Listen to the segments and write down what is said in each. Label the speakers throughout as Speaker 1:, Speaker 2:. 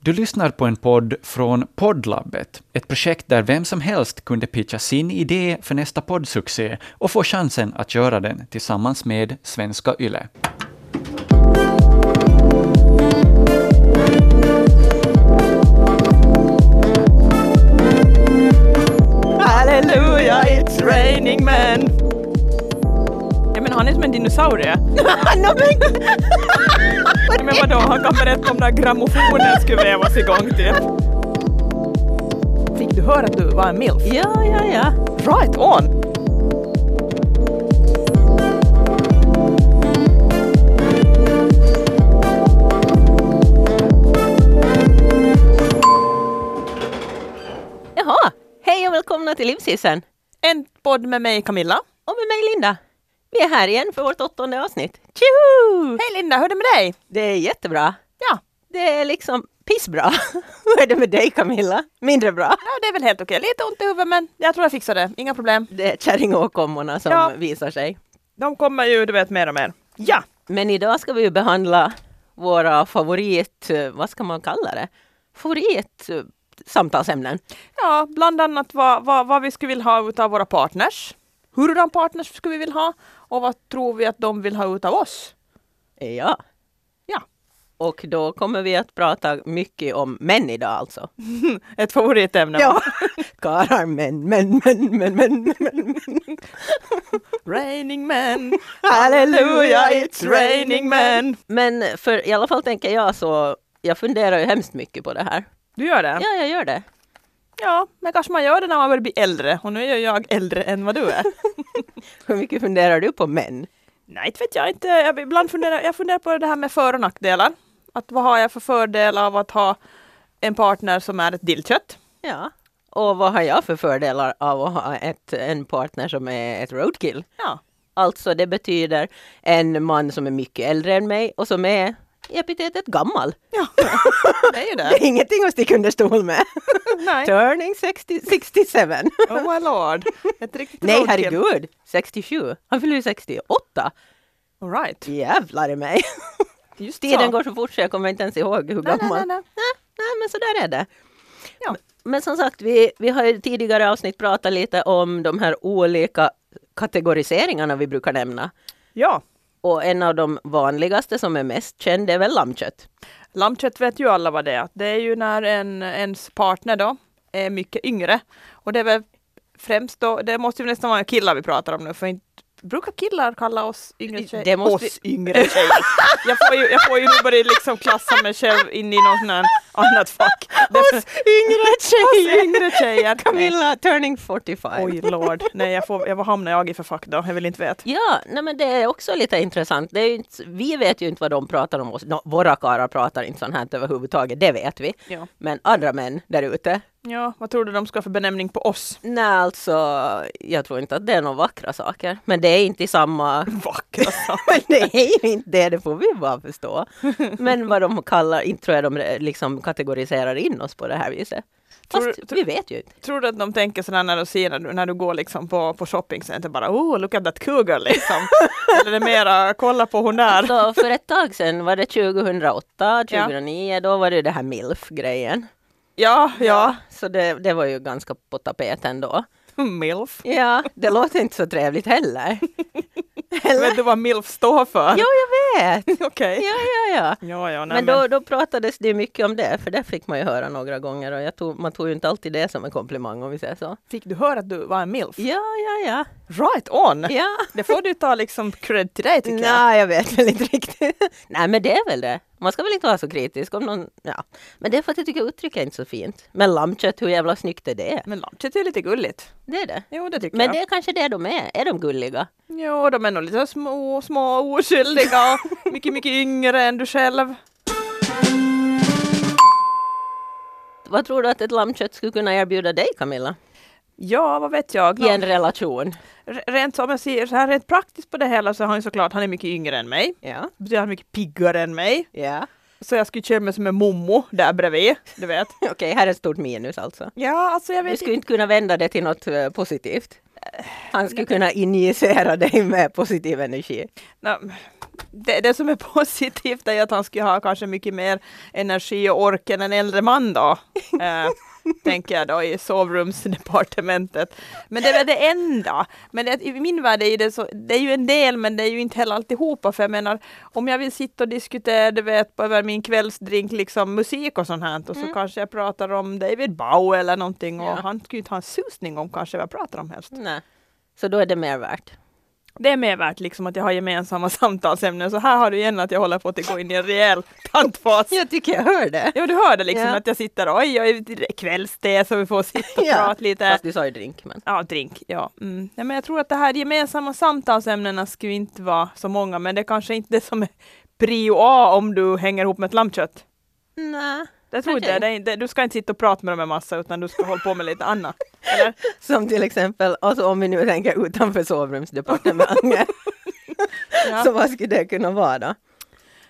Speaker 1: Du lyssnar på en podd från Poddlabbet, ett projekt där vem som helst kunde pitcha sin idé för nästa poddsuccé och få chansen att göra den tillsammans med Svenska Yle.
Speaker 2: Halleluja, it's raining men!
Speaker 3: Ja, men han är som en dinosaurie.
Speaker 2: no, men,
Speaker 3: Ja, men vadå, han kan berätta om när grammofonen skulle vävas igång typ. Fick du höra att du var en milf?
Speaker 2: ja, ja, ja.
Speaker 3: Right on!
Speaker 2: Jaha, hej och välkomna till Livsisen.
Speaker 3: En podd med mig Camilla.
Speaker 2: Och med mig Linda. Vi är här igen för vårt åttonde avsnitt. Tjoho!
Speaker 3: Hej Linda, hur är det med dig?
Speaker 2: Det är jättebra.
Speaker 3: Ja,
Speaker 2: Det är liksom pissbra. Hur är det med dig Camilla? Mindre bra.
Speaker 3: ja det är väl helt okej. Lite ont i huvudet men jag tror jag fixar det. Inga problem.
Speaker 2: Det är kärringåkommorna som
Speaker 3: Ja.
Speaker 2: visar sig.
Speaker 3: De kommer ju, du vet, mer och mer. Ja!
Speaker 2: Men idag ska vi ju behandla våra favorit, eh, vad ska man kalla det? Favorit eh, samtalsämnen.
Speaker 3: Ja, bland annat vad, vad, vad vi skulle vilja ha utav våra partners. Hurdan partners skulle vi vilja ha? Och vad tror vi att de vill ha utav oss?
Speaker 2: Eh, Ja.
Speaker 3: Ja.
Speaker 2: Och då kommer vi att prata mycket om män idag alltså.
Speaker 3: Ett favoritämne.
Speaker 2: Karlar, män, män, män, män, män, män, män.
Speaker 3: Raining men, halleluja, it's raining men.
Speaker 2: Men för i alla fall tänker jag så, jag funderar ju hemskt mycket på det här.
Speaker 3: Du gör det?
Speaker 2: Ja, jag gör det.
Speaker 3: Ja, men kanske man gör det när man börjar bli äldre. Och nu är jag äldre än vad du är.
Speaker 2: Hur mycket funderar du på män?
Speaker 3: Nej, det vet jag inte. Jag, ibland funderar, jag funderar på det här med för och nackdelar. Att vad har jag för fördel av att ha en partner som är ett dillkött?
Speaker 2: Ja. Och vad har jag för fördelar av att ha ett, en partner som är ett roadkill?
Speaker 3: Ja,
Speaker 2: Alltså det betyder en man som är mycket äldre än mig och som är i epitetet gammal.
Speaker 3: ja. det är ju
Speaker 2: Det
Speaker 3: det.
Speaker 2: är ingenting att sticka under stol med.
Speaker 3: Nej.
Speaker 2: Turning 60, 67.
Speaker 3: Oh my lord. Ett riktigt
Speaker 2: Nej,
Speaker 3: roadkill.
Speaker 2: herregud. 67. Han fyller ju 68.
Speaker 3: All right.
Speaker 2: Jävlar i mig.
Speaker 3: Just
Speaker 2: Tiden
Speaker 3: så.
Speaker 2: går så fort så jag kommer inte ens ihåg hur
Speaker 3: Nej,
Speaker 2: gammal.
Speaker 3: nej, nej, nej.
Speaker 2: nej, men så där är det.
Speaker 3: Ja.
Speaker 2: Men som sagt, vi, vi har ju i tidigare avsnitt pratat lite om de här olika kategoriseringarna vi brukar nämna.
Speaker 3: Ja,
Speaker 2: Och en av de vanligaste som är mest känd är väl lammkött.
Speaker 3: Lammkött vet ju alla vad det är. Det är ju när en, ens partner då är mycket yngre. Och det är väl främst då, det måste ju nästan vara killar vi pratar om nu, för inte Brukar killar kalla oss yngre tjejer?
Speaker 2: Det måste-
Speaker 3: Oss yngre tjejer. Jag får ju, jag får ju nu börja liksom klassa mig själv in i något sån här annat fack. Därför-
Speaker 2: yngre
Speaker 3: Oss yngre tjejer! Nej.
Speaker 2: Camilla, turning 45.
Speaker 3: Oj lord, nej jag får, jag, vad hamnar jag i för fack då? Jag vill inte veta.
Speaker 2: Ja, nej men det är också lite intressant. Det är ju inte, vi vet ju inte vad de pratar om oss. Nå, våra karlar pratar inte sånt här överhuvudtaget, det vet vi.
Speaker 3: Ja.
Speaker 2: Men andra män där ute,
Speaker 3: ja, vad tror du de ska ha för benämning på oss?
Speaker 2: nej alltså, jag tror inte att det är några vackra saker. Men det är inte i samma...
Speaker 3: Vackra saker.
Speaker 2: Men det är ju inte det, det får vi bara förstå. Men vad de kallar, inte tror jag de liksom kategoriserar in oss på det här viset. Fast
Speaker 3: Tror du- tror-
Speaker 2: vi vet ju inte.
Speaker 3: Tror du att de tänker sådär när du ser när du, när du går liksom på, på shoppingcenter bara oh look at that cougar liksom. Eller är det mera kolla på hon där.
Speaker 2: Så för ett tag sedan, var det 2008, 2009, då var det ju det här MILF-grejen.
Speaker 3: Ja, ja.
Speaker 2: Så det, det var ju ganska på tapeten då.
Speaker 3: Milf.
Speaker 2: Ja, det låter inte så trevligt heller.
Speaker 3: Vet du vad milf står för?
Speaker 2: Jo, jag vet!
Speaker 3: Okej.
Speaker 2: Ja, ja, ja.
Speaker 3: Ja, ja, nej,
Speaker 2: Men då, då pratades det ju mycket om det, för det fick man ju höra några gånger och jag tog, man tog ju inte alltid det som en komplimang om vi säger så.
Speaker 3: fick du höra att du var en milf?
Speaker 2: Ja, ja, ja.
Speaker 3: Right on!
Speaker 2: ja.
Speaker 3: Det får du ta liksom cred till dig tycker jag.
Speaker 2: Nej, jag vet väl inte riktigt. Nej, men det är väl det. Man ska väl inte vara så kritisk om någon... Ja. Men det är för att jag tycker uttrycket är inte så fint. Men lammkött, hur jävla snyggt är det?
Speaker 3: Men lammkött är lite gulligt.
Speaker 2: Det är det.
Speaker 3: Jo, det tycker
Speaker 2: Men
Speaker 3: jag.
Speaker 2: det är kanske det de är. Är de gulliga?
Speaker 3: Jo, de är nog lite små, små oskyldiga och mycket, mycket yngre än du själv.
Speaker 2: Vad tror du att ett lammkött skulle kunna erbjuda dig, Camilla?
Speaker 3: Ja, vad vet jag.
Speaker 2: I en relation?
Speaker 3: R- Rent som jag ser så här rent praktiskt på det hela så har han ju såklart, han är mycket yngre än mig.
Speaker 2: Ja.
Speaker 3: Det betyder Han är mycket piggare än mig.
Speaker 2: Ja.
Speaker 3: Så jag skulle känna mig som en mommo där bredvid, du vet.
Speaker 2: Okej, här är ett stort minus alltså.
Speaker 3: Ja, alltså jag
Speaker 2: Du
Speaker 3: vet
Speaker 2: skulle
Speaker 3: inte.
Speaker 2: inte kunna vända det till något eh, positivt.
Speaker 3: Äh,
Speaker 2: Han skulle kunna injicera dig med positiv energi.
Speaker 3: Nej, det, det som är positivt är ju att han skulle ha kanske mycket mer energi och ork än en äldre man då. Eh, tänker jag då i sovrumsdepartementet. Men det är väl det enda. Men det, i min värld är ju det, så, det är ju en del men det är ju inte heller alltihopa. För jag menar om jag vill sitta och diskutera du vet, på- över min kvällsdrink liksom musik och sånt här. Och så kanske jag pratar om David Bowie eller någonting. Och
Speaker 2: Ja.
Speaker 3: han skulle ju inte ha en susning om kanske vad jag pratar om helst.
Speaker 2: Nej. Så då är det mer värt.
Speaker 3: Det är mer värt liksom att jag har gemensamma samtalsämnen. Så här har du igen att jag håller på att gå in i en rejäl tantfas.
Speaker 2: Jag tycker jag hör det.
Speaker 3: Jo, du hörde liksom
Speaker 2: Ja.
Speaker 3: att jag sitter och oj, oj, kvällste så vi får sitta och prata lite.
Speaker 2: Fast du sa ju drink. Men.
Speaker 3: Ja, drink. Ja. Mm. Nej, men jag tror att det här gemensamma samtalsämnena skulle inte vara så många, men det är kanske inte det som är prio A om du hänger ihop med ett lammkött.
Speaker 2: Nej.
Speaker 3: Jag tror
Speaker 2: Kanske
Speaker 3: inte det. det. är inte- Du ska inte sitta och prata med dem en massa, utan du ska hålla på med lite annat. Eller?
Speaker 2: Som till exempel, alltså om vi nu tänker utanför sovrumsdepartementet.
Speaker 3: Ja.
Speaker 2: Så vad skulle det kunna vara då?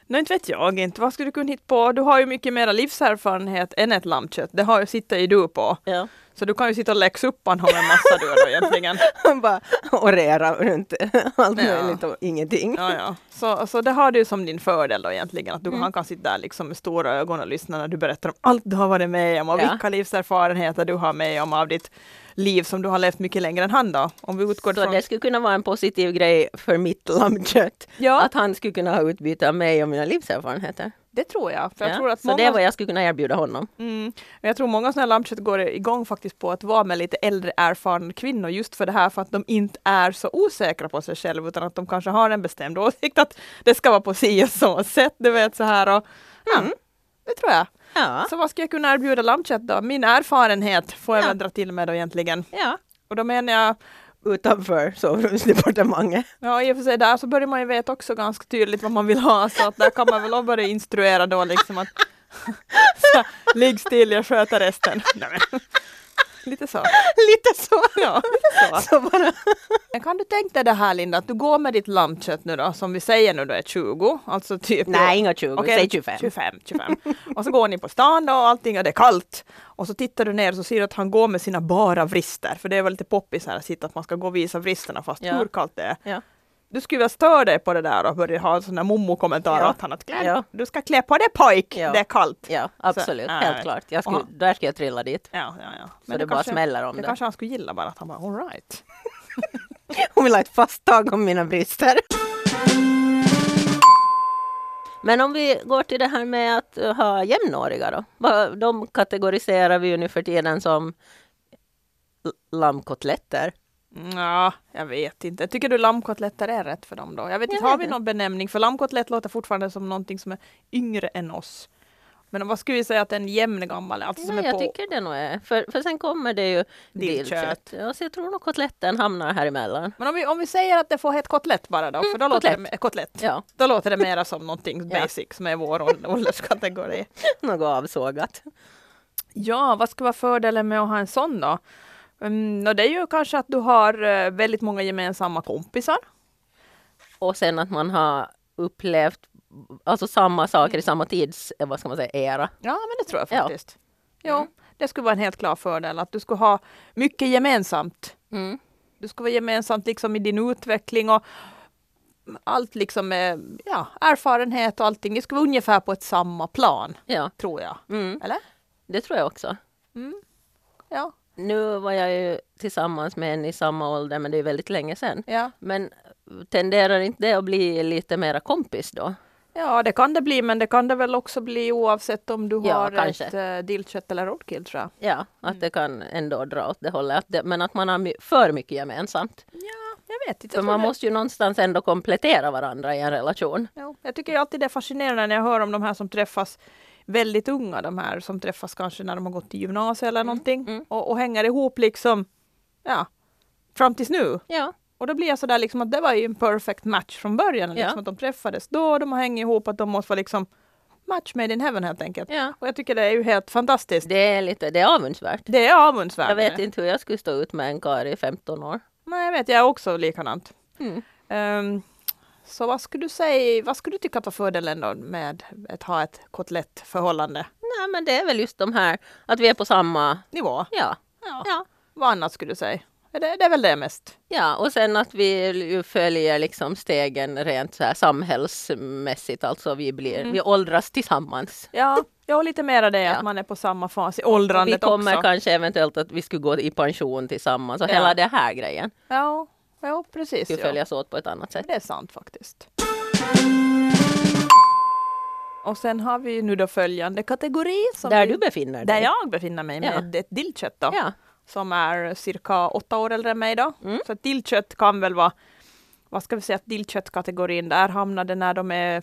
Speaker 3: Nej, inte vet jag inte. Vad skulle du kunna hitta på? Du har ju mycket mera livserfarenhet än ett lammkött. Det har ju, sitter ju du på.
Speaker 2: Ja.
Speaker 3: Så du kan ju sitta och läxa upp honom en massa du då egentligen.
Speaker 2: Han bara orerar runt allt
Speaker 3: Ja.
Speaker 2: möjligt och ingenting.
Speaker 3: Ja, ja. Så, så det har du som din fördel då egentligen, att du
Speaker 2: Mm.
Speaker 3: han kan sitta där liksom med stora ögon och lyssna när du berättar om allt du har varit med om och
Speaker 2: Ja.
Speaker 3: vilka livserfarenheter du har med om av ditt liv som du har levt mycket längre än han då. Om vi utgår
Speaker 2: Så
Speaker 3: från...
Speaker 2: det skulle kunna vara en positiv grej för mitt lammkött.
Speaker 3: Ja,
Speaker 2: Att han skulle kunna ha utbyte av mig och mina livserfarenheter.
Speaker 3: det tror jag. För jag
Speaker 2: Ja.
Speaker 3: tror att
Speaker 2: Så det är
Speaker 3: många...
Speaker 2: vad jag skulle kunna erbjuda honom.
Speaker 3: Mm. Men Jag tror många sådana här lammkött går igång faktiskt på att vara med lite äldre erfarna kvinnor just för det här för att de inte är så osäkra på sig själva utan att de kanske har en bestämd åsikt att det ska vara på si och så sätt, du vet så här och ja, det tror jag.
Speaker 2: Mm. Ja.
Speaker 3: Så vad ska jag kunna erbjuda lammkött då? Min erfarenhet får jag
Speaker 2: Ja.
Speaker 3: väl dra till med då egentligen.
Speaker 2: ja.
Speaker 3: Och då menar jag,
Speaker 2: Utanför sovrumsdepartementet.
Speaker 3: ja i och för sig där så börjar man ju veta också ganska tydligt vad man vill ha så att där kan man väl också börja instruera då liksom att så, ligg still, jag sköter resten. Nej, men. Lite så.
Speaker 2: Lite så.
Speaker 3: Ja, lite så.
Speaker 2: så bara.
Speaker 3: Men Kan du tänka dig det här Linda, att du går med ditt lammkött nu då, som vi säger nu då är 20, alltså typ
Speaker 2: Nej, inga 20,
Speaker 3: Okej,
Speaker 2: säg 25.
Speaker 3: 25, 25. Och så går ni på stan då och allting och det är kallt. Och så tittar du ner och så ser du att han går med sina bara vrister. För det är väl lite poppis här att sitta att man ska gå och visa vristerna fast
Speaker 2: Ja.
Speaker 3: hur kallt det är.
Speaker 2: Ja.
Speaker 3: Du skulle väl störa dig på det där och börja ha sådana mommo-kommentarer
Speaker 2: Ja.
Speaker 3: åt honom. Att klä,
Speaker 2: Ja.
Speaker 3: Du ska klä på dig pojk,
Speaker 2: Ja.
Speaker 3: det är kallt.
Speaker 2: ja, absolut.
Speaker 3: nej.
Speaker 2: Helt klart. Jag skulle,
Speaker 3: Aha.
Speaker 2: där ska jag trilla dit.
Speaker 3: Ja, ja, ja.
Speaker 2: Så det, bara smäller om
Speaker 3: det
Speaker 2: det.
Speaker 3: kanske han skulle gilla bara att han bara alright.
Speaker 2: Hon vill ha ett fast tag om mina brister. Men om vi går till det här med att eh, ha jämnåriga då. Vad- De kategoriserar vi ju nu för tiden som l- lammkotletter.
Speaker 3: Ja, jag vet inte. Tycker du lammkotletter är rätt för dem då? Jag vet
Speaker 2: Jag
Speaker 3: inte,
Speaker 2: vet
Speaker 3: har vi
Speaker 2: inte.
Speaker 3: någon benämning? För lammkotlett låter fortfarande som någonting som är yngre än oss. Men vad skulle vi säga att en jämn gammal är? Alltså som
Speaker 2: Nej,
Speaker 3: är på...
Speaker 2: jag tycker det nog är. För, för sen kommer det ju
Speaker 3: Dillkött.
Speaker 2: dillkött. Ja, så jag tror nog kotletten hamnar här emellan.
Speaker 3: Men om vi, om vi säger att det får heta kotlett bara då, för då, låter,
Speaker 2: Mm, kotlett.
Speaker 3: det, kotlett.
Speaker 2: Ja,
Speaker 3: då låter det mera som någonting
Speaker 2: Ja.
Speaker 3: basic som är vår ål- ålderskategori.
Speaker 2: något avsågat.
Speaker 3: Ja, vad ska vara fördelen med att ha en sån då? Mm, och det är ju kanske att du har eh, väldigt många gemensamma kompisar.
Speaker 2: Och sen att man har upplevt alltså samma saker i samma tids, eh, vad ska man säga, era.
Speaker 3: Ja, men det tror jag
Speaker 2: Ja.
Speaker 3: faktiskt. Mm. Jo, det skulle vara en helt klar fördel att du skulle ha mycket gemensamt.
Speaker 2: Mm.
Speaker 3: Du ska vara gemensamt liksom i din utveckling och allt liksom med ja, erfarenhet och allting. Det ska vara ungefär på ett samma plan,
Speaker 2: Ja,
Speaker 3: tror jag.
Speaker 2: mm,
Speaker 3: Eller?
Speaker 2: det tror jag också.
Speaker 3: Ja.
Speaker 2: Nu var jag ju tillsammans med en i samma ålder, men det är väldigt länge sedan.
Speaker 3: ja.
Speaker 2: Men tenderar inte det att bli lite mera kompis då?
Speaker 3: Ja, det kan det bli, men det kan det väl också bli oavsett om du
Speaker 2: Ja,
Speaker 3: har
Speaker 2: kanske.
Speaker 3: ett eh, dillkött eller roadkill, tror jag.
Speaker 2: Ja, att det kan ändå dra åt det hållet. Att det, men att man har my- för mycket gemensamt.
Speaker 3: Ja, jag vet inte.
Speaker 2: För
Speaker 3: Jag
Speaker 2: man
Speaker 3: tror det-
Speaker 2: måste ju någonstans ändå komplettera varandra i en relation.
Speaker 3: Jo, jag tycker ju alltid det är fascinerande när jag hör om de här som träffas väldigt unga, de här som träffas kanske när de har gått i gymnasiet eller någonting
Speaker 2: mm.
Speaker 3: Och, och hänger ihop liksom, ja, fram tills nu.
Speaker 2: Ja,
Speaker 3: Och då blir jag sådär liksom att det var ju en perfect match från början,
Speaker 2: Ja.
Speaker 3: liksom att de träffades då, de har hängt ihop, att de måste vara liksom match made in heaven helt enkelt.
Speaker 2: ja.
Speaker 3: Och jag tycker det är ju helt fantastiskt.
Speaker 2: Det är lite, det är avundsvärt.
Speaker 3: Det är avundsvärt.
Speaker 2: Jag vet inte hur jag skulle stå ut med en karl i 15 år.
Speaker 3: Nej, jag vet, jag är också likadant.
Speaker 2: Mm.
Speaker 3: Ehm, så vad skulle du säga, vad skulle du tycka att var fördelen då med att ha ett kotlettförhållande?
Speaker 2: Nej, men det är väl just de här att vi är på samma,
Speaker 3: Nivå?
Speaker 2: ja,
Speaker 3: Ja.
Speaker 2: ja.
Speaker 3: Vad annat skulle du säga? det, det är väl det mest.
Speaker 2: Ja, och sen att vi ju följer liksom stegen rent så här samhällsmässigt, alltså vi, blir,
Speaker 3: Mm.
Speaker 2: vi åldras tillsammans.
Speaker 3: Ja, jag har lite mera det
Speaker 2: Ja.
Speaker 3: att man är på samma fas i
Speaker 2: Och vi
Speaker 3: åldrandet
Speaker 2: kommer
Speaker 3: också.
Speaker 2: kanske eventuellt att vi skulle gå i pension tillsammans och
Speaker 3: Ja.
Speaker 2: hela den här grejen
Speaker 3: Ja, ja precis.
Speaker 2: skulle
Speaker 3: Ja.
Speaker 2: följas åt på ett annat sätt.
Speaker 3: Det är sant faktiskt. Och sen har vi ju nu då följande kategori. Som
Speaker 2: Där
Speaker 3: vi,
Speaker 2: du befinner dig.
Speaker 3: där jag befinner mig med ett dillkött då.
Speaker 2: Ja.
Speaker 3: Som är cirka åtta år äldre än mig då.
Speaker 2: Mm.
Speaker 3: Så att dillkött kan väl vara, vad ska vi säga, att dillköttkategorin där hamnade när de är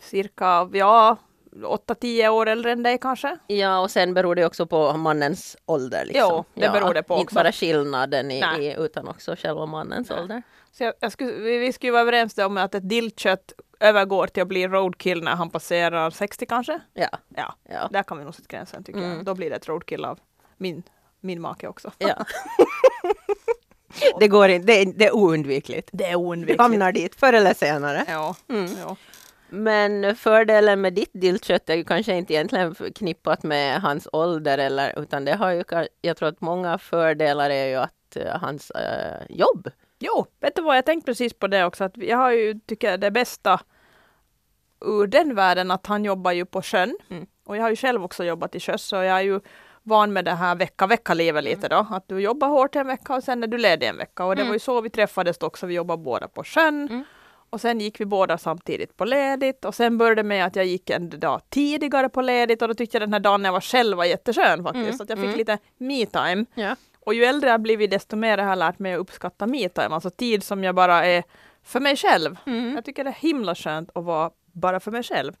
Speaker 3: cirka, ja, åtta, tio år äldre än dig kanske.
Speaker 2: ja, och sen beror det också på mannens ålder. Liksom.
Speaker 3: Jo, det
Speaker 2: Ja,
Speaker 3: beror det på
Speaker 2: Inte
Speaker 3: också.
Speaker 2: bara skillnaden i,
Speaker 3: Nej.
Speaker 2: i, utan också själva mannens
Speaker 3: Nej.
Speaker 2: ålder.
Speaker 3: Så jag, jag skulle, vi, vi skulle ju vara överens då om att ett dillkött övergår till att bli roadkill när han passerar 60 kanske.
Speaker 2: Ja,
Speaker 3: Ja,
Speaker 2: ja,
Speaker 3: där kan vi nog sätta gränsen tycker
Speaker 2: Mm.
Speaker 3: jag. Då blir det ett roadkill av min, min make också.
Speaker 2: ja. det går inte, det, är- det är oundvikligt.
Speaker 3: Det är
Speaker 2: Du
Speaker 3: oundvikligt.
Speaker 2: hamnar dit förr eller senare.
Speaker 3: Ja,
Speaker 2: Mm.
Speaker 3: ja.
Speaker 2: Men fördelen med ditt dillkött är ju kanske inte egentligen förknippat med hans ålder eller utan det har ju, ka- jag tror att många fördelar är ju att eh, hans eh, jobb.
Speaker 3: Jo, vet du vad, jag tänkte precis på det också. Att jag har ju, tycker jag, det bästa ur den världen att han jobbar ju på sjön.
Speaker 2: Mm.
Speaker 3: Och jag har ju själv också jobbat i sjöss så jag är ju van med det här vecka-vecka-livet lite
Speaker 2: Mm.
Speaker 3: då. Att du jobbar hårt en vecka och sen är du ledig en vecka. Och det var ju så vi träffades då också, vi jobbade båda på sjön.
Speaker 2: Mm.
Speaker 3: Och sen gick vi båda samtidigt på ledigt och sen började det med att jag gick en dag tidigare på ledigt och då tyckte jag den här dagen när jag var själv var jätteskön faktiskt.
Speaker 2: Mm,
Speaker 3: Så att jag fick
Speaker 2: mm.
Speaker 3: lite me-time.
Speaker 2: Ja.
Speaker 3: Och ju äldre jag har blivit desto mer har jag lärt mig att uppskatta me-time, alltså tid som jag bara är för mig själv. Jag tycker det är himla skönt att vara bara för mig själv.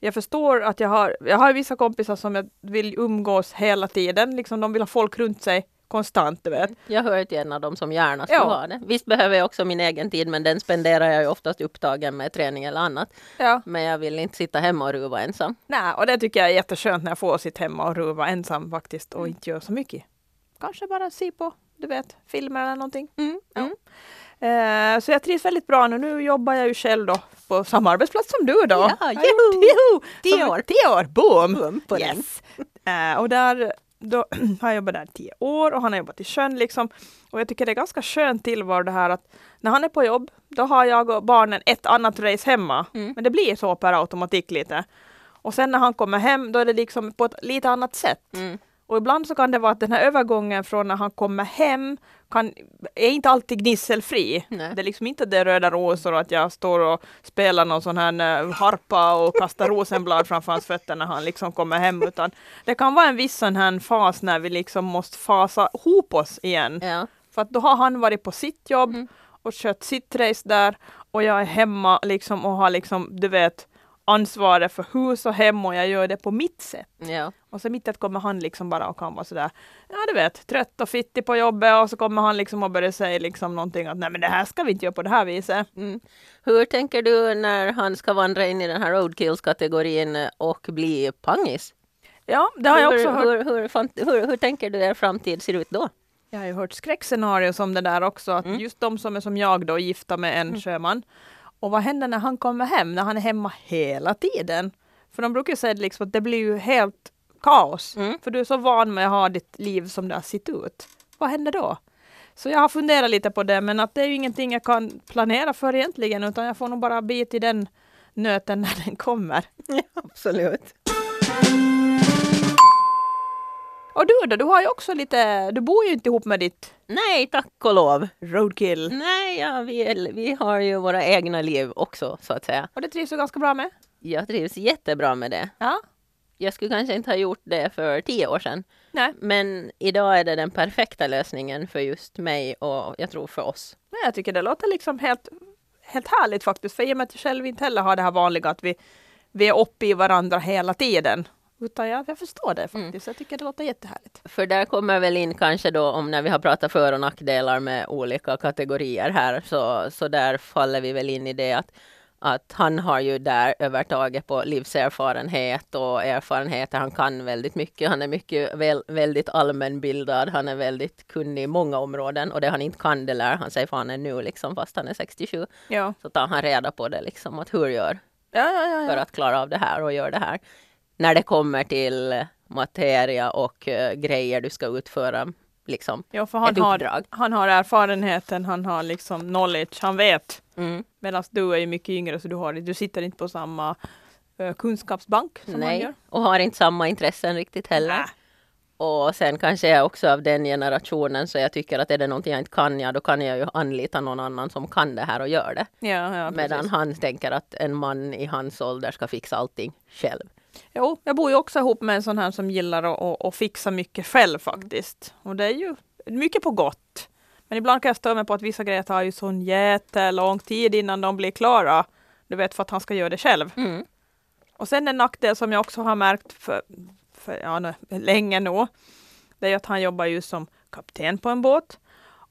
Speaker 3: Jag förstår att jag har, jag har vissa kompisar som jag vill umgås hela tiden, liksom de vill ha folk runt sig konstant, du vet.
Speaker 2: Jag hör till en av dem som gärna skulle
Speaker 3: Ja.
Speaker 2: ha det. Visst behöver jag också min egen tid men den spenderar jag ju oftast upptagen med träning eller annat.
Speaker 3: Ja.
Speaker 2: Men jag vill inte sitta hemma och ruva ensam.
Speaker 3: Nej, och det tycker jag är jätteskönt när jag får sitta hemma och ruva ensam faktiskt och inte göra så mycket. Kanske bara se på, du vet, filmer eller någonting. Ja.
Speaker 2: mm.
Speaker 3: Eh, så jag trivs väldigt bra nu. Nu jobbar jag ju själv då på samma arbetsplats som du då.
Speaker 2: Ja,
Speaker 3: Jag har gjort-
Speaker 2: juhu!
Speaker 3: juhu!
Speaker 2: Tio
Speaker 3: Som-
Speaker 2: år.
Speaker 3: Tio år, boom!
Speaker 2: Boom på den.
Speaker 3: yes. Eh, och där då, har jag jobbat där tio år och han har jobbat i sjön liksom. Och jag tycker det är ganska skönt tillvaro det här att när han är på jobb, då har jag och barnen ett annat race hemma.
Speaker 2: Mm.
Speaker 3: Men det blir så per automatik lite. Och sen när han kommer hem, då är det liksom på ett lite annat sätt.
Speaker 2: Mm.
Speaker 3: Och ibland så kan det vara att den här övergången från när han kommer hem kan, är inte alltid gnisselfri.
Speaker 2: Nej.
Speaker 3: Det är liksom inte det röda rosor och att jag står och spelar någon sån här eh, harpa och kastar rosenblad framför hans fötter när han liksom kommer hem. Utan det kan vara en viss sån här fas när vi liksom måste fasa ihop oss igen.
Speaker 2: Ja.
Speaker 3: För att då har han varit på sitt jobb och kört sitt race där och jag är hemma liksom och har liksom, du vet, ansvaret för hus och hem och jag gör det på mitt sätt.
Speaker 2: Ja.
Speaker 3: Och så mitt i att kommer han liksom bara och kan vara sådär, ja du vet, trött och fittig på jobbet och så kommer han liksom och börjar säga liksom någonting att nej men det här ska vi inte göra på det här viset.
Speaker 2: Mm. Hur tänker du när han ska vandra in i den här roadkills-kategorin och bli pangis?
Speaker 3: Ja, det har jag också
Speaker 2: hur,
Speaker 3: hört.
Speaker 2: hur, hur, fan- hur, hur tänker du er framtid ser ut då?
Speaker 3: Jag har ju hört skräckscenarier som det där också, att just de som är som jag då, gifta med en sjöman. Och vad händer när han kommer hem, när han är hemma hela tiden? För de brukar ju säga liksom att det blir ju helt kaos,
Speaker 2: Mm.
Speaker 3: för du är så van med att ha ditt liv som det har sett ut. Vad händer då? Så jag har funderat lite på det, men att det är ju ingenting jag kan planera för egentligen, utan jag får nog bara bita i den nöten när den kommer.
Speaker 2: Absolut.
Speaker 3: Och du då, du har ju också lite, du bor ju inte ihop med ditt
Speaker 2: Nej, tack och lov.
Speaker 3: roadkill.
Speaker 2: Nej, ja, vi, vi har ju våra egna liv också, så att säga.
Speaker 3: Och det trivs du ganska bra med?
Speaker 2: Jag trivs jättebra med det.
Speaker 3: Ja.
Speaker 2: Jag skulle kanske inte ha gjort det för tio år sedan.
Speaker 3: Nej.
Speaker 2: Men idag är det den perfekta lösningen för just mig och jag tror för oss.
Speaker 3: Nej, jag tycker det låter liksom helt, helt härligt faktiskt. För i och med att jag själv inte heller har det här vanliga att vi, vi är uppe i varandra hela tiden. Utan jag, jag förstår det
Speaker 2: Mm.
Speaker 3: faktiskt. Jag tycker det låter jättehärligt.
Speaker 2: För där kommer väl in kanske då om när vi har pratat för och nackdelar med olika kategorier här, så, så där faller vi väl in i det att, att han har ju där övertaget på livserfarenhet och erfarenheter. Han kan väldigt mycket. Han är mycket väl, väldigt allmänbildad. Han är väldigt kunnig i många områden och det han inte kan, det lär han sig för han är nu liksom, fast han är 67.
Speaker 3: Ja,
Speaker 2: Så tar han reda på det liksom, att hur gör
Speaker 3: ja, ja. ja,
Speaker 2: för
Speaker 3: ja.
Speaker 2: att klara av det här och gör det här. eh, När det kommer till materia och eh, grejer du ska utföra liksom
Speaker 3: Ja, för han
Speaker 2: ett
Speaker 3: har,
Speaker 2: uppdrag.
Speaker 3: han har erfarenheten, han har liksom knowledge, han vet.
Speaker 2: Mm.
Speaker 3: Medan du är ju mycket yngre så du, har, du sitter inte på samma eh, kunskapsbank som han
Speaker 2: Nej,
Speaker 3: gör.
Speaker 2: och har inte samma intressen riktigt heller.
Speaker 3: Äh,
Speaker 2: Och sen kanske jag också av den generationen så jag tycker att är det någonting jag inte kan, ja då kan jag ju anlita någon annan som kan det här och gör det.
Speaker 3: Ja, ja,
Speaker 2: Medan
Speaker 3: precis.
Speaker 2: han tänker att en man i hans ålder ska fixa allting själv.
Speaker 3: Jo, jag bor ju också ihop med en sån här som gillar att, att, att fixa mycket
Speaker 2: Mm.
Speaker 3: själv faktiskt. Och det är ju mycket på gott. Men ibland kan jag störa mig på att vissa grejer tar ju sån jättelång tid innan de blir klara. Du vet, för att han ska göra det själv.
Speaker 2: Mm.
Speaker 3: Och sen en nackdel som jag också har märkt för, för ja, nu, länge nu, det är ju att han jobbar ju som kapten på en båt.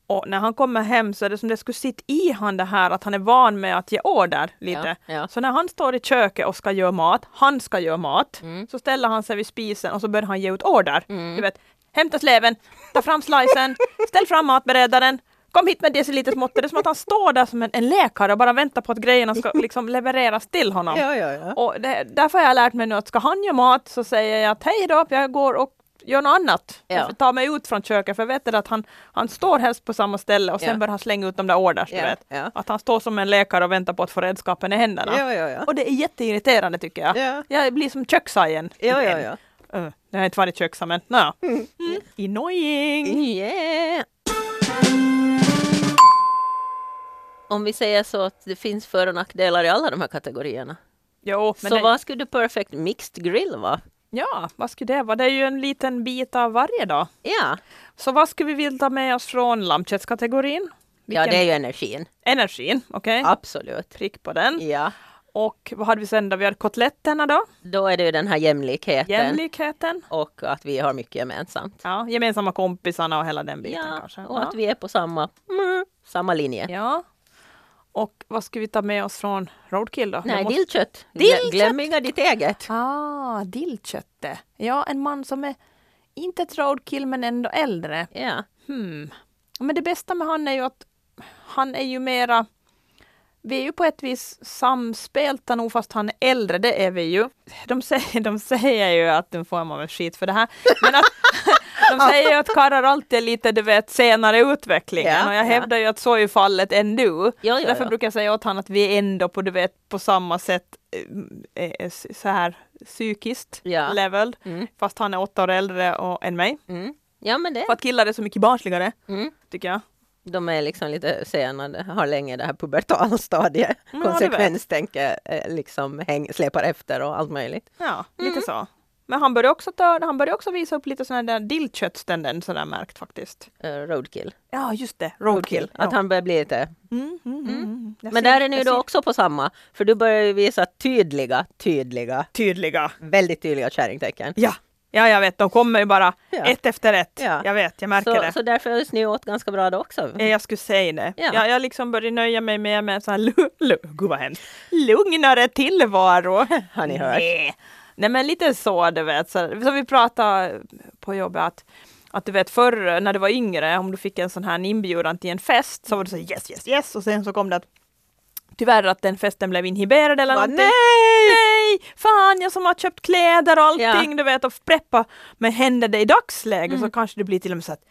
Speaker 3: Och när han kommer hem så är det som det skulle sitta i han det här att han är van med att ge order lite.
Speaker 2: Ja, ja.
Speaker 3: Så när han står i köket och ska göra mat, han ska göra mat,
Speaker 2: Mm.
Speaker 3: så ställer han sig vid spisen och så börjar han ge ut order.
Speaker 2: Mm.
Speaker 3: Du vet, hämta sleven, ta fram slicen, ställ fram matberedaren, kom hit med decilitersmåttet. Det är som att han står där som en, en läkare och bara väntar på att grejerna ska liksom levereras till honom.
Speaker 2: ja, ja.
Speaker 3: Och det, därför har jag lärt mig nu att ska han göra mat så säger jag att hej då, jag går och gör något annat.
Speaker 2: Ja.
Speaker 3: Jag tar mig ut från köket för jag vet att han, han står helst på samma ställe och sen
Speaker 2: Ja.
Speaker 3: börjar han slänga ut de där orders,
Speaker 2: Ja,
Speaker 3: du vet.
Speaker 2: ja.
Speaker 3: Att han står som en läkare och väntar på att få redskapen i händerna.
Speaker 2: ja, ja.
Speaker 3: Och det är jätteirriterande tycker jag.
Speaker 2: Ja.
Speaker 3: Jag blir som köksajen. Uh, jag har inte varit köksa men no. mm. Annoying!
Speaker 2: Yeah. Om vi säger så att det finns för och nackdelar i alla de här kategorierna.
Speaker 3: Jo, men
Speaker 2: så
Speaker 3: det,
Speaker 2: vad skulle Perfect Mixed Grill vara?
Speaker 3: ja, vad skulle det vara? Det är ju en liten bit av varje dag.
Speaker 2: Ja.
Speaker 3: Så vad skulle vi vilja ta med oss från lammköttskategorin?
Speaker 2: ja,
Speaker 3: Vilken-
Speaker 2: det är ju energin.
Speaker 3: Energin, okej.
Speaker 2: Absolut.
Speaker 3: Prick på den.
Speaker 2: Ja,
Speaker 3: Och vad hade vi sen då? Vi hade kotletterna då.
Speaker 2: då är det ju den här jämlikheten
Speaker 3: Jämlikheten.
Speaker 2: och att vi har mycket gemensamt.
Speaker 3: Ja, gemensamma kompisarna och hela den biten
Speaker 2: Ja,
Speaker 3: kanske.
Speaker 2: och
Speaker 3: ja.
Speaker 2: att vi är på samma, mm, samma linje.
Speaker 3: ja. Och vad ska vi ta med oss från Roadkill då?
Speaker 2: Nej,
Speaker 3: Jag måste-
Speaker 2: dillkött. Glö-
Speaker 3: Dillkött!
Speaker 2: Glöm inga ditt eget.
Speaker 3: Ah, dillkötte. Ja, en man som är inte ett roadkill men ändå äldre.
Speaker 2: Ja,
Speaker 3: Hmm. Men det bästa med han är ju att han är ju mera vi är ju på ett vis samspelta nog fast han är äldre, det är vi ju. De säger, de säger ju att, nu får man väl skit för det här, men att de säger ju att karlar alltid är lite, du vet, senare i utvecklingen
Speaker 2: Ja,
Speaker 3: och jag
Speaker 2: ja.
Speaker 3: hävdar ju att så är ju fallet ändå.
Speaker 2: ja,
Speaker 3: Därför
Speaker 2: ja.
Speaker 3: brukar jag säga åt honom att vi är ändå på, du vet, på samma sätt eh, eh, s- så här psykiskt
Speaker 2: Ja.
Speaker 3: level.
Speaker 2: Mm.
Speaker 3: Fast han är åtta år äldre och, än mig.
Speaker 2: Mm. ja men det.
Speaker 3: För att killar är så mycket barnsligare,
Speaker 2: Mm.
Speaker 3: tycker jag.
Speaker 2: De är liksom lite senare, har länge det här pubertala stadiet.
Speaker 3: Ja, det
Speaker 2: Konsekvenstänke eh, liksom häng, släpar efter och allt möjligt.
Speaker 3: Ja,
Speaker 2: Mm.
Speaker 3: lite så. Men han börjar också, ta, han börjar också visa upp lite sådana där dillköttstendenser där märkt faktiskt.
Speaker 2: Eh, roadkill.
Speaker 3: Ja, just det. Roadkill.
Speaker 2: Att han börjar bli lite...
Speaker 3: Mm, mm, mm, mm. Jag
Speaker 2: Men
Speaker 3: ser-
Speaker 2: där är ni ju
Speaker 3: jag
Speaker 2: då
Speaker 3: ser
Speaker 2: också på samma. För du börjar ju visa tydliga, tydliga,
Speaker 3: Tydliga.
Speaker 2: väldigt tydliga kärringtecken.
Speaker 3: Ja. ja, jag vet. De kommer ju bara
Speaker 2: Ja.
Speaker 3: ett efter ett.
Speaker 2: Ja.
Speaker 3: Jag vet, jag märker
Speaker 2: Så,
Speaker 3: det.
Speaker 2: så därför hörs ni åt ganska bra då också.
Speaker 3: Ja, Eh, Jag skulle säga det.
Speaker 2: Ja.
Speaker 3: Jag, jag liksom börjar nöja mig med, med så här, lu- lu- gud vad hemskt, lugnare tillvaro.
Speaker 2: Har ni hört?
Speaker 3: Nej. Nej men lite så du vet, så, som vi pratade på jobbet att, att du vet förr när du var yngre, om du fick en sån här inbjudan till en fest så var du så här, yes yes yes och sen så kom det att Tyvärr att den festen blev inhiberad eller
Speaker 2: Va,
Speaker 3: någonting. Nej! Fan, jag som har köpt kläder och allting, du vet, och preppa. Men händer det i
Speaker 2: Mm.
Speaker 3: dagsläget så kanske det blir till och med så att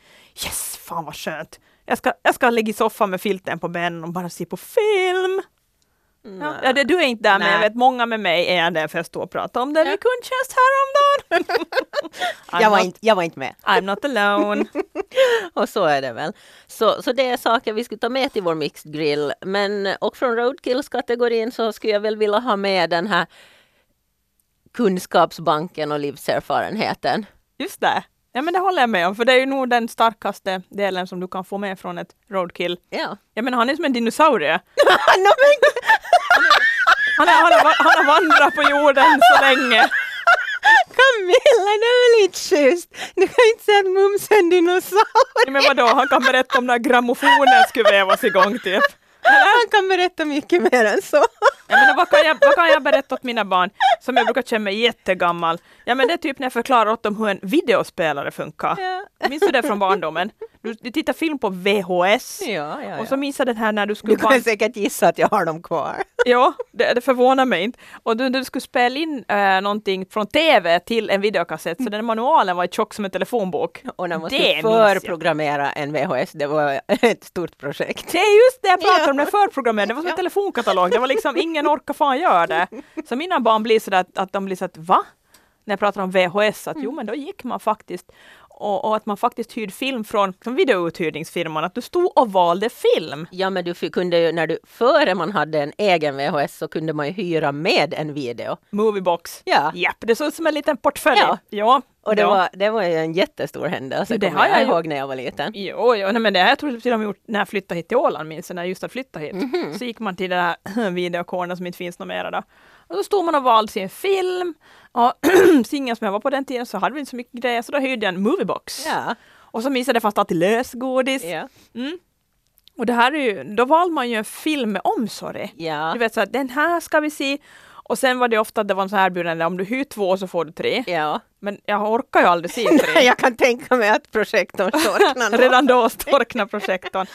Speaker 3: yes, fan vad skönt. Jag ska, jag ska ligga i soffan med filten på benen och bara se på film. Ja, ja, det, du är inte där, men jag
Speaker 2: Nej.
Speaker 3: vet många med mig är det, för jag står och pratar om det
Speaker 2: Ja.
Speaker 3: vid kundtjänst häromdagen. I'm,
Speaker 2: jag, var
Speaker 3: not,
Speaker 2: inte, jag var inte med.
Speaker 3: I'm not alone.
Speaker 2: Och så är det väl. Så, så det är saker vi skulle ta med till vår mixed grill. Men, och från roadkills-kategorin så skulle jag väl vilja ha med den här kunskapsbanken och livserfarenheten.
Speaker 3: Just det. Ja, men det håller jag med om, för det är ju nog den starkaste delen som du kan få med från ett roadkill.
Speaker 2: Ja.
Speaker 3: Jag menar, han är som en dinosaurie.
Speaker 2: no, men,
Speaker 3: Han, är, han, har, va- han har vandrat på jorden så länge.
Speaker 2: Camilla, det är väl inte schysst? Du kan inte säga att Mums är en dinosaurie.
Speaker 3: Ja, Men vadå, han kan berätta om när grammofonen skulle vävas igång typ.
Speaker 2: Han kan berätta mycket mer än så.
Speaker 3: Jag menar, vad, kan jag, vad kan jag berätta åt mina barn som jag brukar känna mig jättegammal? Ja men det är typ när jag förklarar åt dem hur en videospelare funkar.
Speaker 2: Ja.
Speaker 3: Minns du det från barndomen? Du, du tittar film på VHS.
Speaker 2: Ja, ja,
Speaker 3: Och så
Speaker 2: ja.
Speaker 3: minns jag den här när du skulle...
Speaker 4: Du kan
Speaker 3: bara-
Speaker 4: säkert gissa att jag har dem kvar.
Speaker 3: Ja, det, det förvånar mig inte. Och du, du skulle spela in eh, någonting från TV till en videokassett,
Speaker 2: Mm.
Speaker 3: så den manualen var tjock som en telefonbok.
Speaker 2: Och när man
Speaker 3: Det
Speaker 2: skulle
Speaker 3: minns jag.
Speaker 2: förprogrammera en VHS, det var ett stort projekt.
Speaker 3: Det är just det jag pratar
Speaker 4: Ja.
Speaker 3: om, den förprogrammerade. Det var som en telefonkatalog. Det var liksom ingen orkar fan göra det. Så mina barn blir sådär att, att de blir så att va? När jag pratar om VHS, att jo
Speaker 2: Mm.
Speaker 3: men då gick man faktiskt och, och att man faktiskt hyrde film från från videouthyrningsfirman, att du stod och valde film.
Speaker 2: Ja, men du fick- kunde ju, när du, före man hade en egen VHS så kunde man ju hyra med en video.
Speaker 3: Moviebox.
Speaker 2: Ja,
Speaker 3: Japp, det såg ut som en liten portfölj.
Speaker 2: Ja.
Speaker 3: ja.
Speaker 2: och det,
Speaker 3: ja.
Speaker 2: var, det var ju en jättestor händelse,
Speaker 3: Jo, det
Speaker 2: kommer
Speaker 3: har
Speaker 2: jag,
Speaker 3: jag ju-
Speaker 2: ihåg när jag var liten.
Speaker 3: Jo, jo nej, men det här tror jag till och med gjort när jag flyttade hit till Åland, minns jag, när jag just hade flyttat hit.
Speaker 2: Mhm.
Speaker 3: Så gick man till den här videokornen som inte finns något mera då. Och då stod man och valde sin film. Och singeln som jag var på den tiden så hade vi inte så mycket grejer, så då hyrde jag en moviebox.
Speaker 2: Ja,
Speaker 3: Och så minns jag det fanns alltid lösgodis.
Speaker 2: ja,
Speaker 3: Och det här är ju, då valde man ju en film med omsorg. Du
Speaker 2: ja,
Speaker 3: vet så att den här ska vi se. Och sen var det ofta att det var en sån här erbjudande, om du hyr två så får du tre.
Speaker 2: ja.
Speaker 3: Men jag orkar ju aldrig se tre.
Speaker 4: jag kan tänka mig att projektorn storknar nog.
Speaker 3: Redan då storkna projektorn.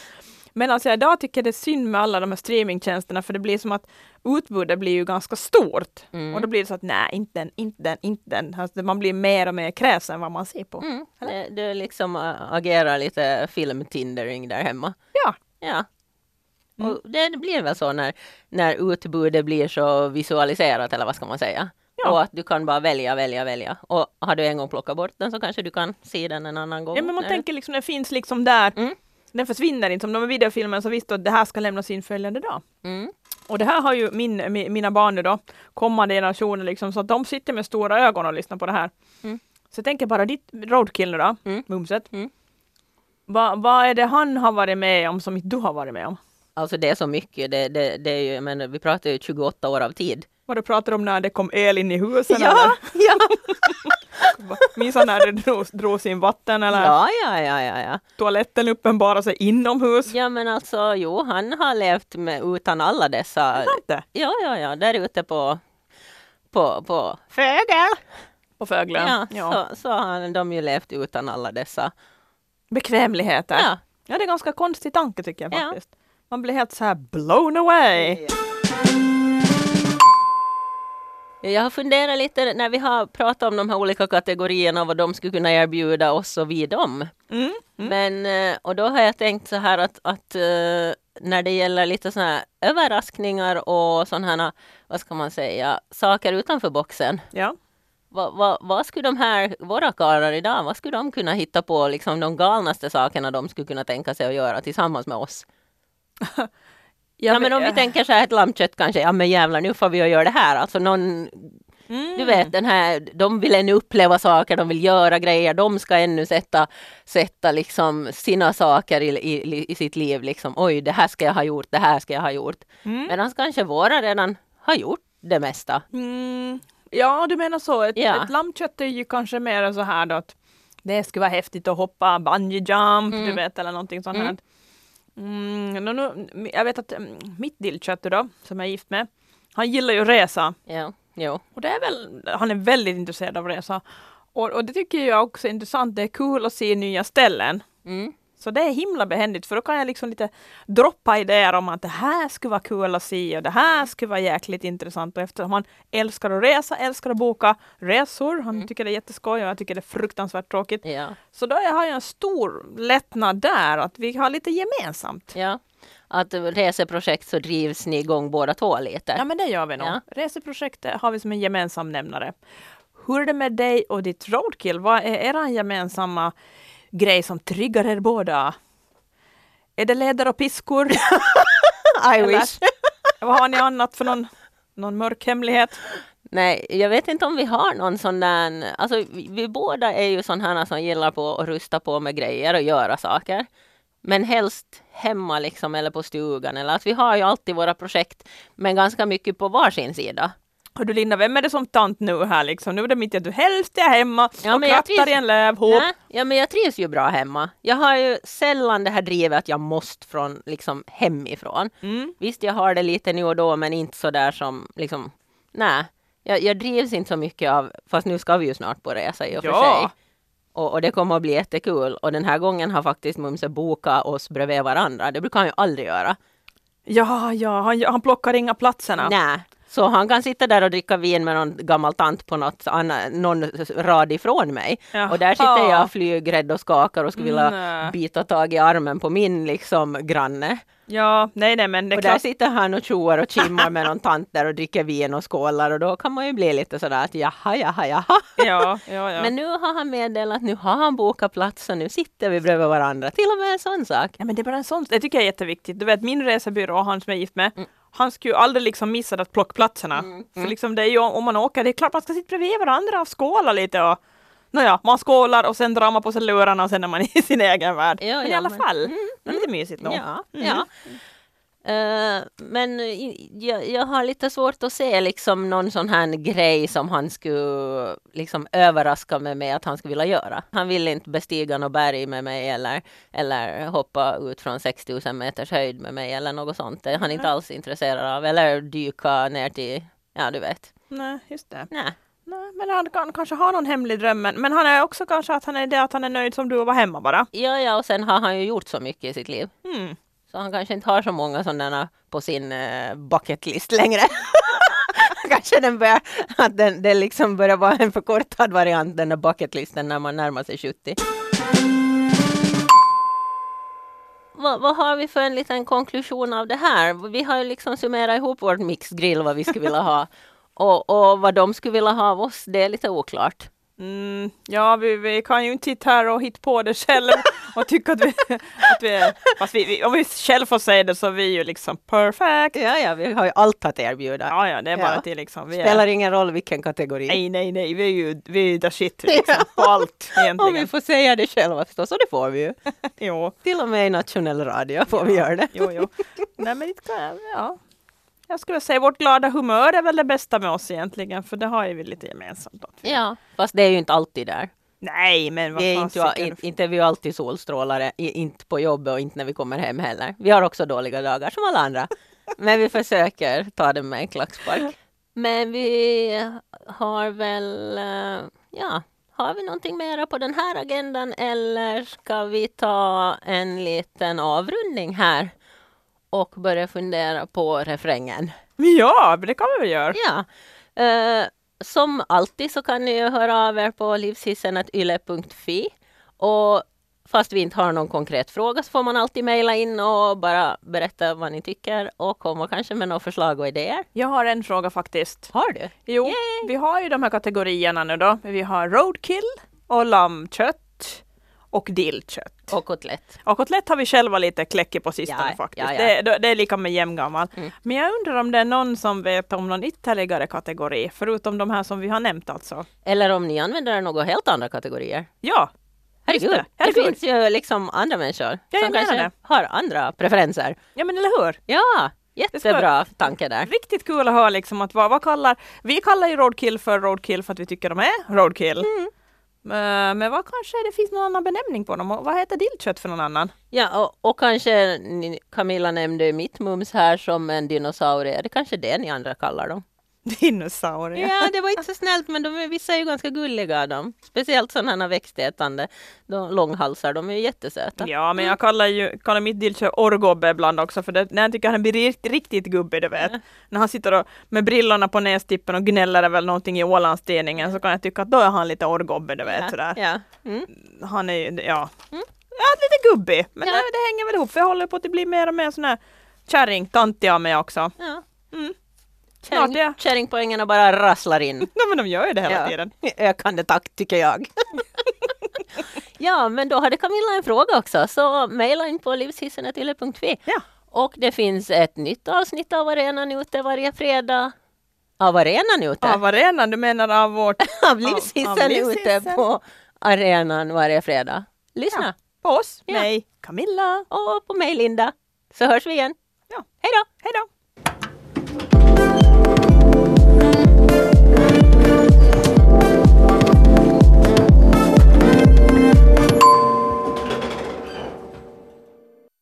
Speaker 3: Men alltså idag tycker jag det är synd med alla de här streamingtjänsterna för det blir som att utbudet blir ju ganska stort. Och då blir det så att nej, inte den, inte den, inte den. Alltså, man blir mer och mer kräsen vad man ser på.
Speaker 2: Mm. Det, det liksom äh, agerar lite filmtindering där hemma.
Speaker 3: Ja,
Speaker 2: Ja.
Speaker 3: Mm.
Speaker 2: Och det blir väl så när, när utbudet blir så visualiserat, eller vad ska man säga?
Speaker 3: Ja.
Speaker 2: Och att du kan bara välja, välja, välja. Och har du en gång plockat bort den så kanske du kan se den en annan gång.
Speaker 3: ja men man
Speaker 2: när du-
Speaker 3: tänker liksom den finns liksom där.
Speaker 2: Mm.
Speaker 3: Den försvinner inte. Som de här videofilmerna så visst då, det här ska lämnas in följande dag.
Speaker 2: Mm.
Speaker 3: Och det här har ju min, mi, mina barn nu då, kommande generationer liksom, så att de sitter med stora ögon och lyssnar på det här.
Speaker 2: Mm.
Speaker 3: Så jag tänker bara ditt roadkill nu då,
Speaker 2: Mm.
Speaker 3: Mumset.
Speaker 2: Mm.
Speaker 3: Va- Vad är det han har varit med om som inte du har varit med om?
Speaker 2: Alltså det är så mycket, det, det, det är ju, men vi pratar ju 28 år av tid.
Speaker 3: Vad du pratar om när det kom el in i husen
Speaker 2: ja, ja,
Speaker 3: eller? Va- Minns han när det drog, drog sin vatten eller
Speaker 2: ja, ja, ja, ja, ja.
Speaker 3: toaletten uppenbarade sig inomhus?
Speaker 2: Ja men alltså jo, han har levt med, utan alla dessa,
Speaker 3: Inte?
Speaker 2: ja, ja, ja, där ute på, på, på Fögel.
Speaker 3: På Föglö?
Speaker 2: Ja, Så, så har de ju levt utan alla dessa.
Speaker 3: Bekvämligheter?
Speaker 2: Ja.
Speaker 3: Ja, det är en ganska konstig tanke tycker jag
Speaker 2: Ja.
Speaker 3: faktiskt. Man blir helt så här blown away.
Speaker 2: Jag har funderat lite när vi har pratat om de här olika kategorierna och vad de skulle kunna erbjuda oss och vi dem.
Speaker 3: Mm.
Speaker 2: Men, eh, och då har jag tänkt så här att, att eh, när det gäller lite sådana här överraskningar och sådana här, vad ska man säga, saker utanför boxen.
Speaker 3: Ja.
Speaker 2: Vad, vad, vad skulle de här, våra karlar idag, vad skulle de kunna hitta på, liksom de galnaste sakerna de skulle kunna tänka sig att göra tillsammans med oss? Ja, men om vi tänker så här ett lammkött kanske, ja men jävlar nu får vi ju göra det här. Alltså någon,
Speaker 3: Mm.
Speaker 2: du vet den här, de vill ännu uppleva saker, de vill göra grejer, de ska ännu sätta, sätta liksom sina saker i, i, i sitt liv liksom. Oj, det här ska jag ha gjort, det här ska jag ha gjort.
Speaker 3: Mm.
Speaker 2: Medan kanske våra redan har gjort det mesta.
Speaker 3: Mm. Ja, du menar så. Ett,
Speaker 2: Ja.
Speaker 3: ett lammkött är ju kanske mer så här då att det skulle vara häftigt att hoppa bungee jump, du
Speaker 2: Mm.
Speaker 3: vet, eller någonting sånt
Speaker 2: Mm.
Speaker 3: här. Mm, no, no, jag vet att mm, mitt dillkött då, som jag är gift med, han gillar ju att resa.
Speaker 2: Ja, jo.
Speaker 3: Och det är väl, han är väldigt intresserad av att resa. Och, och det tycker jag också är intressant. Det är kul att se nya ställen.
Speaker 2: Mm.
Speaker 3: Så det är himla behändigt för då kan jag liksom lite droppa idéer om att det här skulle vara kul att se och det här skulle vara jäkligt intressant. Och eftersom han älskar att resa, älskar att boka resor, han tycker det är jätteskoj och jag tycker det är fruktansvärt tråkigt.
Speaker 2: Ja.
Speaker 3: Så då har jag en stor lättnad där, att vi har lite gemensamt.
Speaker 2: ja. Att eh, reseprojekt så drivs ni igång båda två lite.
Speaker 3: Ja men det gör vi nog.
Speaker 2: Ja.
Speaker 3: Reseprojektet har vi som en gemensam nämnare. Hur är det med dig och ditt roadkill? Vad är er gemensamma grej som triggar er båda? Är det leder och piskor?
Speaker 4: I
Speaker 3: Eller-
Speaker 4: wish.
Speaker 3: Vad har ni annat för någon, någon mörk hemlighet?
Speaker 2: Nej, jag vet inte om vi har någon sån där... Alltså, vi, vi båda är ju sådana som gillar på att rusta på med grejer och göra saker. Men helst hemma liksom, eller på stugan. Eller att vi har ju alltid våra projekt, men ganska mycket på varsin sida.
Speaker 3: Hör du Linda, vem är det som tant nu här liksom? Nu är det mitt i att du helst är hemma
Speaker 2: Ja,
Speaker 3: och
Speaker 2: men jag
Speaker 3: krattar
Speaker 2: trivs-
Speaker 3: i en lövhop.
Speaker 2: Nej, ja, men jag trivs ju bra hemma. Jag har ju sällan det här drivet att jag måste från, liksom, hemifrån.
Speaker 3: Mm.
Speaker 2: Visst, jag har det lite nu och då, men inte så där som... Liksom, nej, jag, jag drivs inte så mycket av... Fast nu ska vi ju snart på resa i och för
Speaker 3: Ja.
Speaker 2: sig. Och, och det kommer att bli jättekul. Och den här gången har faktiskt Mumse bokat oss bredvid varandra. Det brukar han ju aldrig göra.
Speaker 3: Ja, ja, han, han plockar inga platserna.
Speaker 2: Nej. Så han kan sitta där och dricka vin med någon gammal tant på något, anna- någon rad ifrån mig.
Speaker 3: Jaha.
Speaker 2: Och där sitter jag flygrädd och skakar och skulle vilja
Speaker 3: Nej.
Speaker 2: bita tag i armen på min liksom granne.
Speaker 3: Ja, nej, nej, men det är
Speaker 2: Och där
Speaker 3: klart.
Speaker 2: sitter han och tjoar och kimmar med någon tant där och dricker vin och skålar och då kan man ju bli lite sådär att jaha, jaha, jaha.
Speaker 3: Ja, ja, ja.
Speaker 2: Men nu har han meddelat, nu har han bokat plats och nu sitter vi bredvid varandra. Till och med en sån sak.
Speaker 3: Ja, men det är bara en sån, det tycker jag är jätteviktigt. Du vet min resebyrå, han som jag är gift
Speaker 2: Mm.
Speaker 3: med, han skulle ju aldrig liksom missa att plocka platserna. För liksom det är ju, om man åker, det är klart man ska sitta bredvid varandra och skåla lite och Nåja, man skålar och sen drar man på sig lurarna och sen är man i sin egen värld.
Speaker 2: Ja,
Speaker 3: men i
Speaker 2: ja,
Speaker 3: alla
Speaker 2: men- Mm,
Speaker 3: fall, det är lite mysigt Mm. nog.
Speaker 2: Ja, ja. Eh, men i- jag, jag har lite svårt att se liksom någon sån här grej som han skulle liksom överraska mig med att han skulle vilja göra. Han vill inte bestiga något berg med mig eller, eller hoppa ut från 60 000 meters höjd med mig eller något sånt. Det är han inte alls intresserad av. Eller dyka ner till, ja du vet.
Speaker 3: Nej, just det.
Speaker 2: Nej.
Speaker 3: Nej, men han kan kanske ha någon hemlig dröm, men men han är också kanske att han är det att han är nöjd som du och var hemma bara.
Speaker 2: Ja, ja, och sen har han ju gjort så mycket i sitt liv.
Speaker 3: Mm.
Speaker 2: Så han kanske inte har så många sådana på sin eh, bucket list längre. kanske den börjar, att den, det liksom börjar vara en förkortad variant, den där bucket listen, när man närmar sig 70. Vad, vad har vi för en liten konklusion av det här? Vi har ju liksom summerat ihop vårt mixgrill, vad vi skulle vilja ha. Och, och vad de skulle vilja ha av oss, det är lite oklart.
Speaker 3: Mm, ja, vi, vi kan ju inte sitta här och hitta på det själv och tycka att vi, att vi är... Fast vi, vi, om vi själv får säga det så är vi ju liksom perfect.
Speaker 2: Ja, ja, vi har ju allt att erbjuda.
Speaker 3: Ja, ja, det är bara
Speaker 2: Ja.
Speaker 3: att det liksom... Vi
Speaker 2: Spelar
Speaker 3: är,
Speaker 2: ingen roll vilken kategori.
Speaker 3: nej, nej, nej, vi är ju, vi är ju the shit liksom, på allt
Speaker 2: Om vi
Speaker 3: egentligen.
Speaker 2: får säga det själva förstås, och det får vi ju.
Speaker 3: Jo,
Speaker 2: Till och med i nationell radio får vi göra det.
Speaker 3: jo, jo. Nej, men det kan, ja. Jag skulle säga vårt glada humör är väl det bästa med oss egentligen, för det har ju vi lite gemensamt. Då.
Speaker 2: Ja, fast det är ju inte alltid där.
Speaker 3: Nej, men vad
Speaker 2: Det är inte,
Speaker 3: fasiken.
Speaker 2: inte, inte vi är alltid solstrålare, i- inte på jobbet och inte när vi kommer hem heller. Vi har också dåliga dagar som alla andra. Men vi försöker ta det med en klackspark. Men vi har väl, eh, ja, har vi någonting mera på den här agendan eller ska vi ta en liten avrundning här och börja fundera på refrängen?
Speaker 3: Ja, men det kan vi väl göra.
Speaker 2: Ja. Eh, som alltid så kan ni ju höra av er på livshissen.yle.fi. Och fast vi inte har någon konkret fråga så får man alltid mejla in och bara berätta vad ni tycker och komma kanske med några förslag och idéer.
Speaker 3: Jag har en fråga faktiskt.
Speaker 2: Har du?
Speaker 3: Jo, vi har ju de här kategorierna nu då. Vi har roadkill och lammkött och dillkött.
Speaker 2: Och kotlett.
Speaker 3: Och kotlett har vi själva lite kläckig på sistone
Speaker 2: Ja,
Speaker 3: faktiskt.
Speaker 2: ja,
Speaker 3: Det,
Speaker 2: ja.
Speaker 3: det- det är lika med jämngammal.
Speaker 2: Mm.
Speaker 3: Men jag undrar om det är någon som vet om någon ytterligare kategori, förutom de här som vi har nämnt alltså.
Speaker 2: Eller om ni använder några helt andra kategorier.
Speaker 3: Ja, Just
Speaker 2: Herregud,
Speaker 3: det.
Speaker 2: det,
Speaker 3: Herregud.
Speaker 2: finns ju liksom andra människor
Speaker 3: jag
Speaker 2: som
Speaker 3: menar
Speaker 2: kanske
Speaker 3: det.
Speaker 2: har andra preferenser.
Speaker 3: ja men eller hur?
Speaker 2: Ja,
Speaker 3: ska-
Speaker 2: jättebra tanke där.
Speaker 3: Riktigt kul att höra liksom att vad, vad kallar, vi kallar ju roadkill för roadkill för att vi tycker de är roadkill.
Speaker 2: Mm.
Speaker 3: Eh, Men vad kanske det finns någon annan benämning på dem? Och Vad heter dillkött för någon annan?
Speaker 2: Ja, och, och kanske ni, Camilla nämnde ju mitt mums här som en dinosaurie. Det kanske är det ni andra kallar dem.
Speaker 3: Dinosaurie.
Speaker 2: Ja, det var inte så snällt, men de är, vissa är ju ganska gulliga de. Speciellt sådana här växtätande de, långhalsar, de är ju jättesöta.
Speaker 3: Ja, men jag kallar ju kallar mitt dillkö orrgubbe ibland också för det, när jag tycker han blir rikt, riktigt gubbe, du vet.
Speaker 2: Mm.
Speaker 3: När han sitter och, med brillorna på nästippen och gnäller väl någonting i Ålandstidningen så kan jag tycka att då är han lite orrgubbe, du vet.
Speaker 2: ja,
Speaker 3: Sådär.
Speaker 2: ja. Mm.
Speaker 3: Han är ju, ja. ja, lite gubbig. Men
Speaker 2: Ja.
Speaker 3: det, det hänger väl ihop, för jag håller på att det blir mer och mer sån här kärringtantig av mig också.
Speaker 2: ja.
Speaker 3: Mm. Snart är
Speaker 2: Kärring,
Speaker 3: jag-
Speaker 2: kärringpoängerna bara rasslar in.
Speaker 3: Ja, men de gör ju det hela tiden.
Speaker 2: I ökande takt tycker jag. ja, men då hade Camilla en fråga också, så mejla in på livshissen.ylle.fi.
Speaker 3: Ja.
Speaker 2: Och det finns ett nytt avsnitt av Arenan ute varje fredag. Av Arenan ute?
Speaker 3: Av arenan, du menar av vårt...
Speaker 2: Av
Speaker 3: av
Speaker 2: Livshissen ute
Speaker 3: Livshissen.
Speaker 2: på arenan varje fredag. Lyssna!
Speaker 3: På oss,
Speaker 2: Ja.
Speaker 3: mig, Camilla.
Speaker 2: Och på mig Linda. Så hörs vi igen.
Speaker 3: Ja.
Speaker 2: Hej då!